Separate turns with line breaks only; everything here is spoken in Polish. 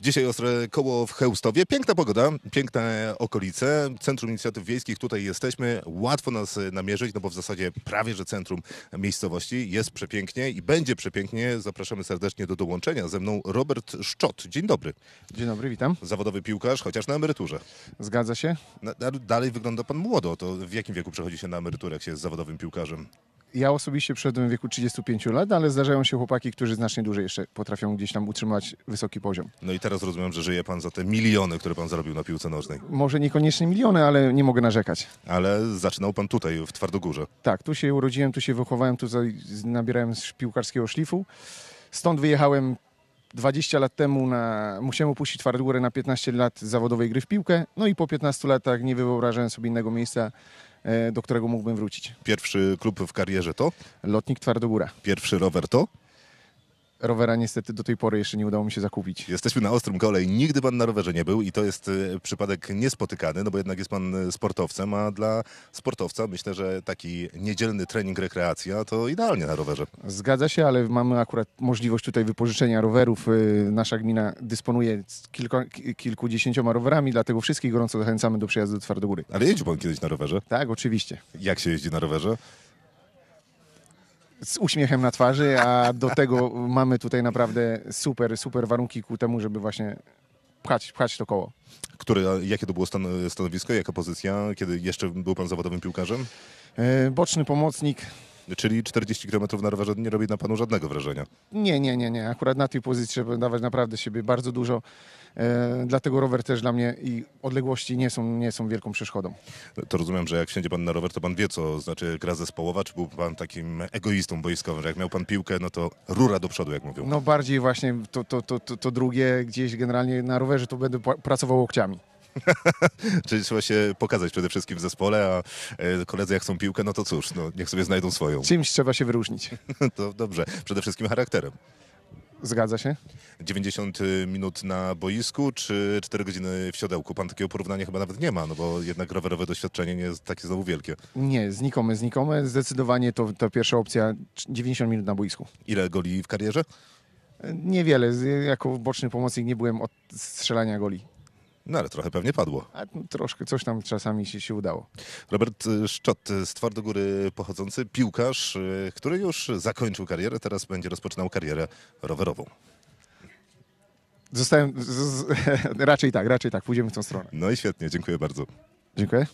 Dzisiaj ostre koło w Chełstowie. Piękna pogoda, piękne okolice. Centrum Inicjatyw Wiejskich, tutaj jesteśmy. Łatwo nas e, namierzyć, no bo w zasadzie prawie, że centrum miejscowości. Jest przepięknie i będzie przepięknie. Zapraszamy serdecznie do dołączenia. Ze mną Robert Szczot. Dzień dobry.
Dzień dobry, witam.
Zawodowy piłkarz, chociaż na emeryturze.
Zgadza się.
Na- na- Dalej wygląda pan młodo. To w jakim wieku przechodzi się na emeryturę, jak się jest zawodowym piłkarzem?
Ja osobiście przyszedłem w wieku 35 lat, ale zdarzają się chłopaki, którzy znacznie dłużej jeszcze potrafią gdzieś tam utrzymać wysoki poziom.
No i teraz rozumiem, że żyje pan za te miliony, które pan zarobił na piłce nożnej.
Może niekoniecznie miliony, ale nie mogę narzekać.
Ale zaczynał pan tutaj, w Twardogórze.
Tak, tu się urodziłem, tu się wychowałem, tu za- z- nabierałem sz- piłkarskiego szlifu. Stąd wyjechałem 20 lat temu na... Musiałem opuścić Twardogórę na 15 lat zawodowej gry w piłkę. No i po 15 latach nie wyobrażałem sobie innego miejsca, e, do którego mógłbym wrócić.
Pierwszy klub w karierze to?
Lotnik Twardogóra.
Pierwszy rower to?
Rowera niestety do tej pory jeszcze nie udało mi się zakupić.
Jesteśmy na ostrym kole i nigdy pan na rowerze nie był i to jest e, przypadek niespotykany, no bo jednak jest pan e, sportowcem, a dla sportowca myślę, że taki niedzielny trening, rekreacja to idealnie na rowerze.
Zgadza się, ale mamy akurat możliwość tutaj wypożyczenia rowerów. Y, Nasza gmina dysponuje z kilko, ki- kilkudziesięcioma rowerami, dlatego wszystkich gorąco zachęcamy do przyjazdu do Twardogóry.
Ale jeździł pan kiedyś na rowerze?
Tak, oczywiście.
Jak się jeździ na rowerze?
Z uśmiechem na twarzy, a do tego mamy tutaj naprawdę super, super warunki ku temu, żeby właśnie pchać, pchać to koło.
Który, a jakie to było stan stanowisko, jaka pozycja, kiedy jeszcze był pan zawodowym piłkarzem?
Y, Boczny pomocnik.
Czyli 40 km na rowerze nie robi na panu żadnego wrażenia.
Nie, nie, nie, nie. Akurat na tej pozycji trzeba dawać naprawdę siebie bardzo dużo. Y, Dlatego rower też dla mnie i odległości nie są, nie są wielką przeszkodą.
To rozumiem, że jak wsiądzie pan na rower, to pan wie, co znaczy gra zespołowa, czy był pan takim egoistą boiskowym, że jak miał pan piłkę, no to rura do przodu, jak mówią.
No bardziej właśnie to, to, to, to, to drugie gdzieś generalnie na rowerze to będę pła- pracował łokciami.
Czyli trzeba się pokazać przede wszystkim w zespole, a e, koledzy jak chcą piłkę, no to cóż, no, niech sobie znajdą swoją.
Czymś trzeba się wyróżnić.
To dobrze, przede wszystkim charakterem.
Zgadza się?
90 minut na boisku, czy 4 godziny w siodełku? Pan takiego porównania chyba nawet nie ma, no bo jednak rowerowe doświadczenie nie jest takie znowu wielkie.
Nie, znikome, znikome. Zdecydowanie to, to pierwsza opcja cz- 90 minut na boisku. E,
Ile goli w karierze?
Niewiele, z- jako boczny pomocnik nie byłem od strzelania goli.
No ale trochę pewnie padło.
A no, troszkę, coś tam czasami się, się udało.
Robert y, Szczot y, z Twardogóry pochodzący, piłkarz, y, który już zakończył karierę, teraz będzie rozpoczynał karierę rowerową.
Zostałem, z, z, raczej tak, raczej tak, pójdziemy w tą stronę.
No i świetnie, dziękuję bardzo.
Dziękuję.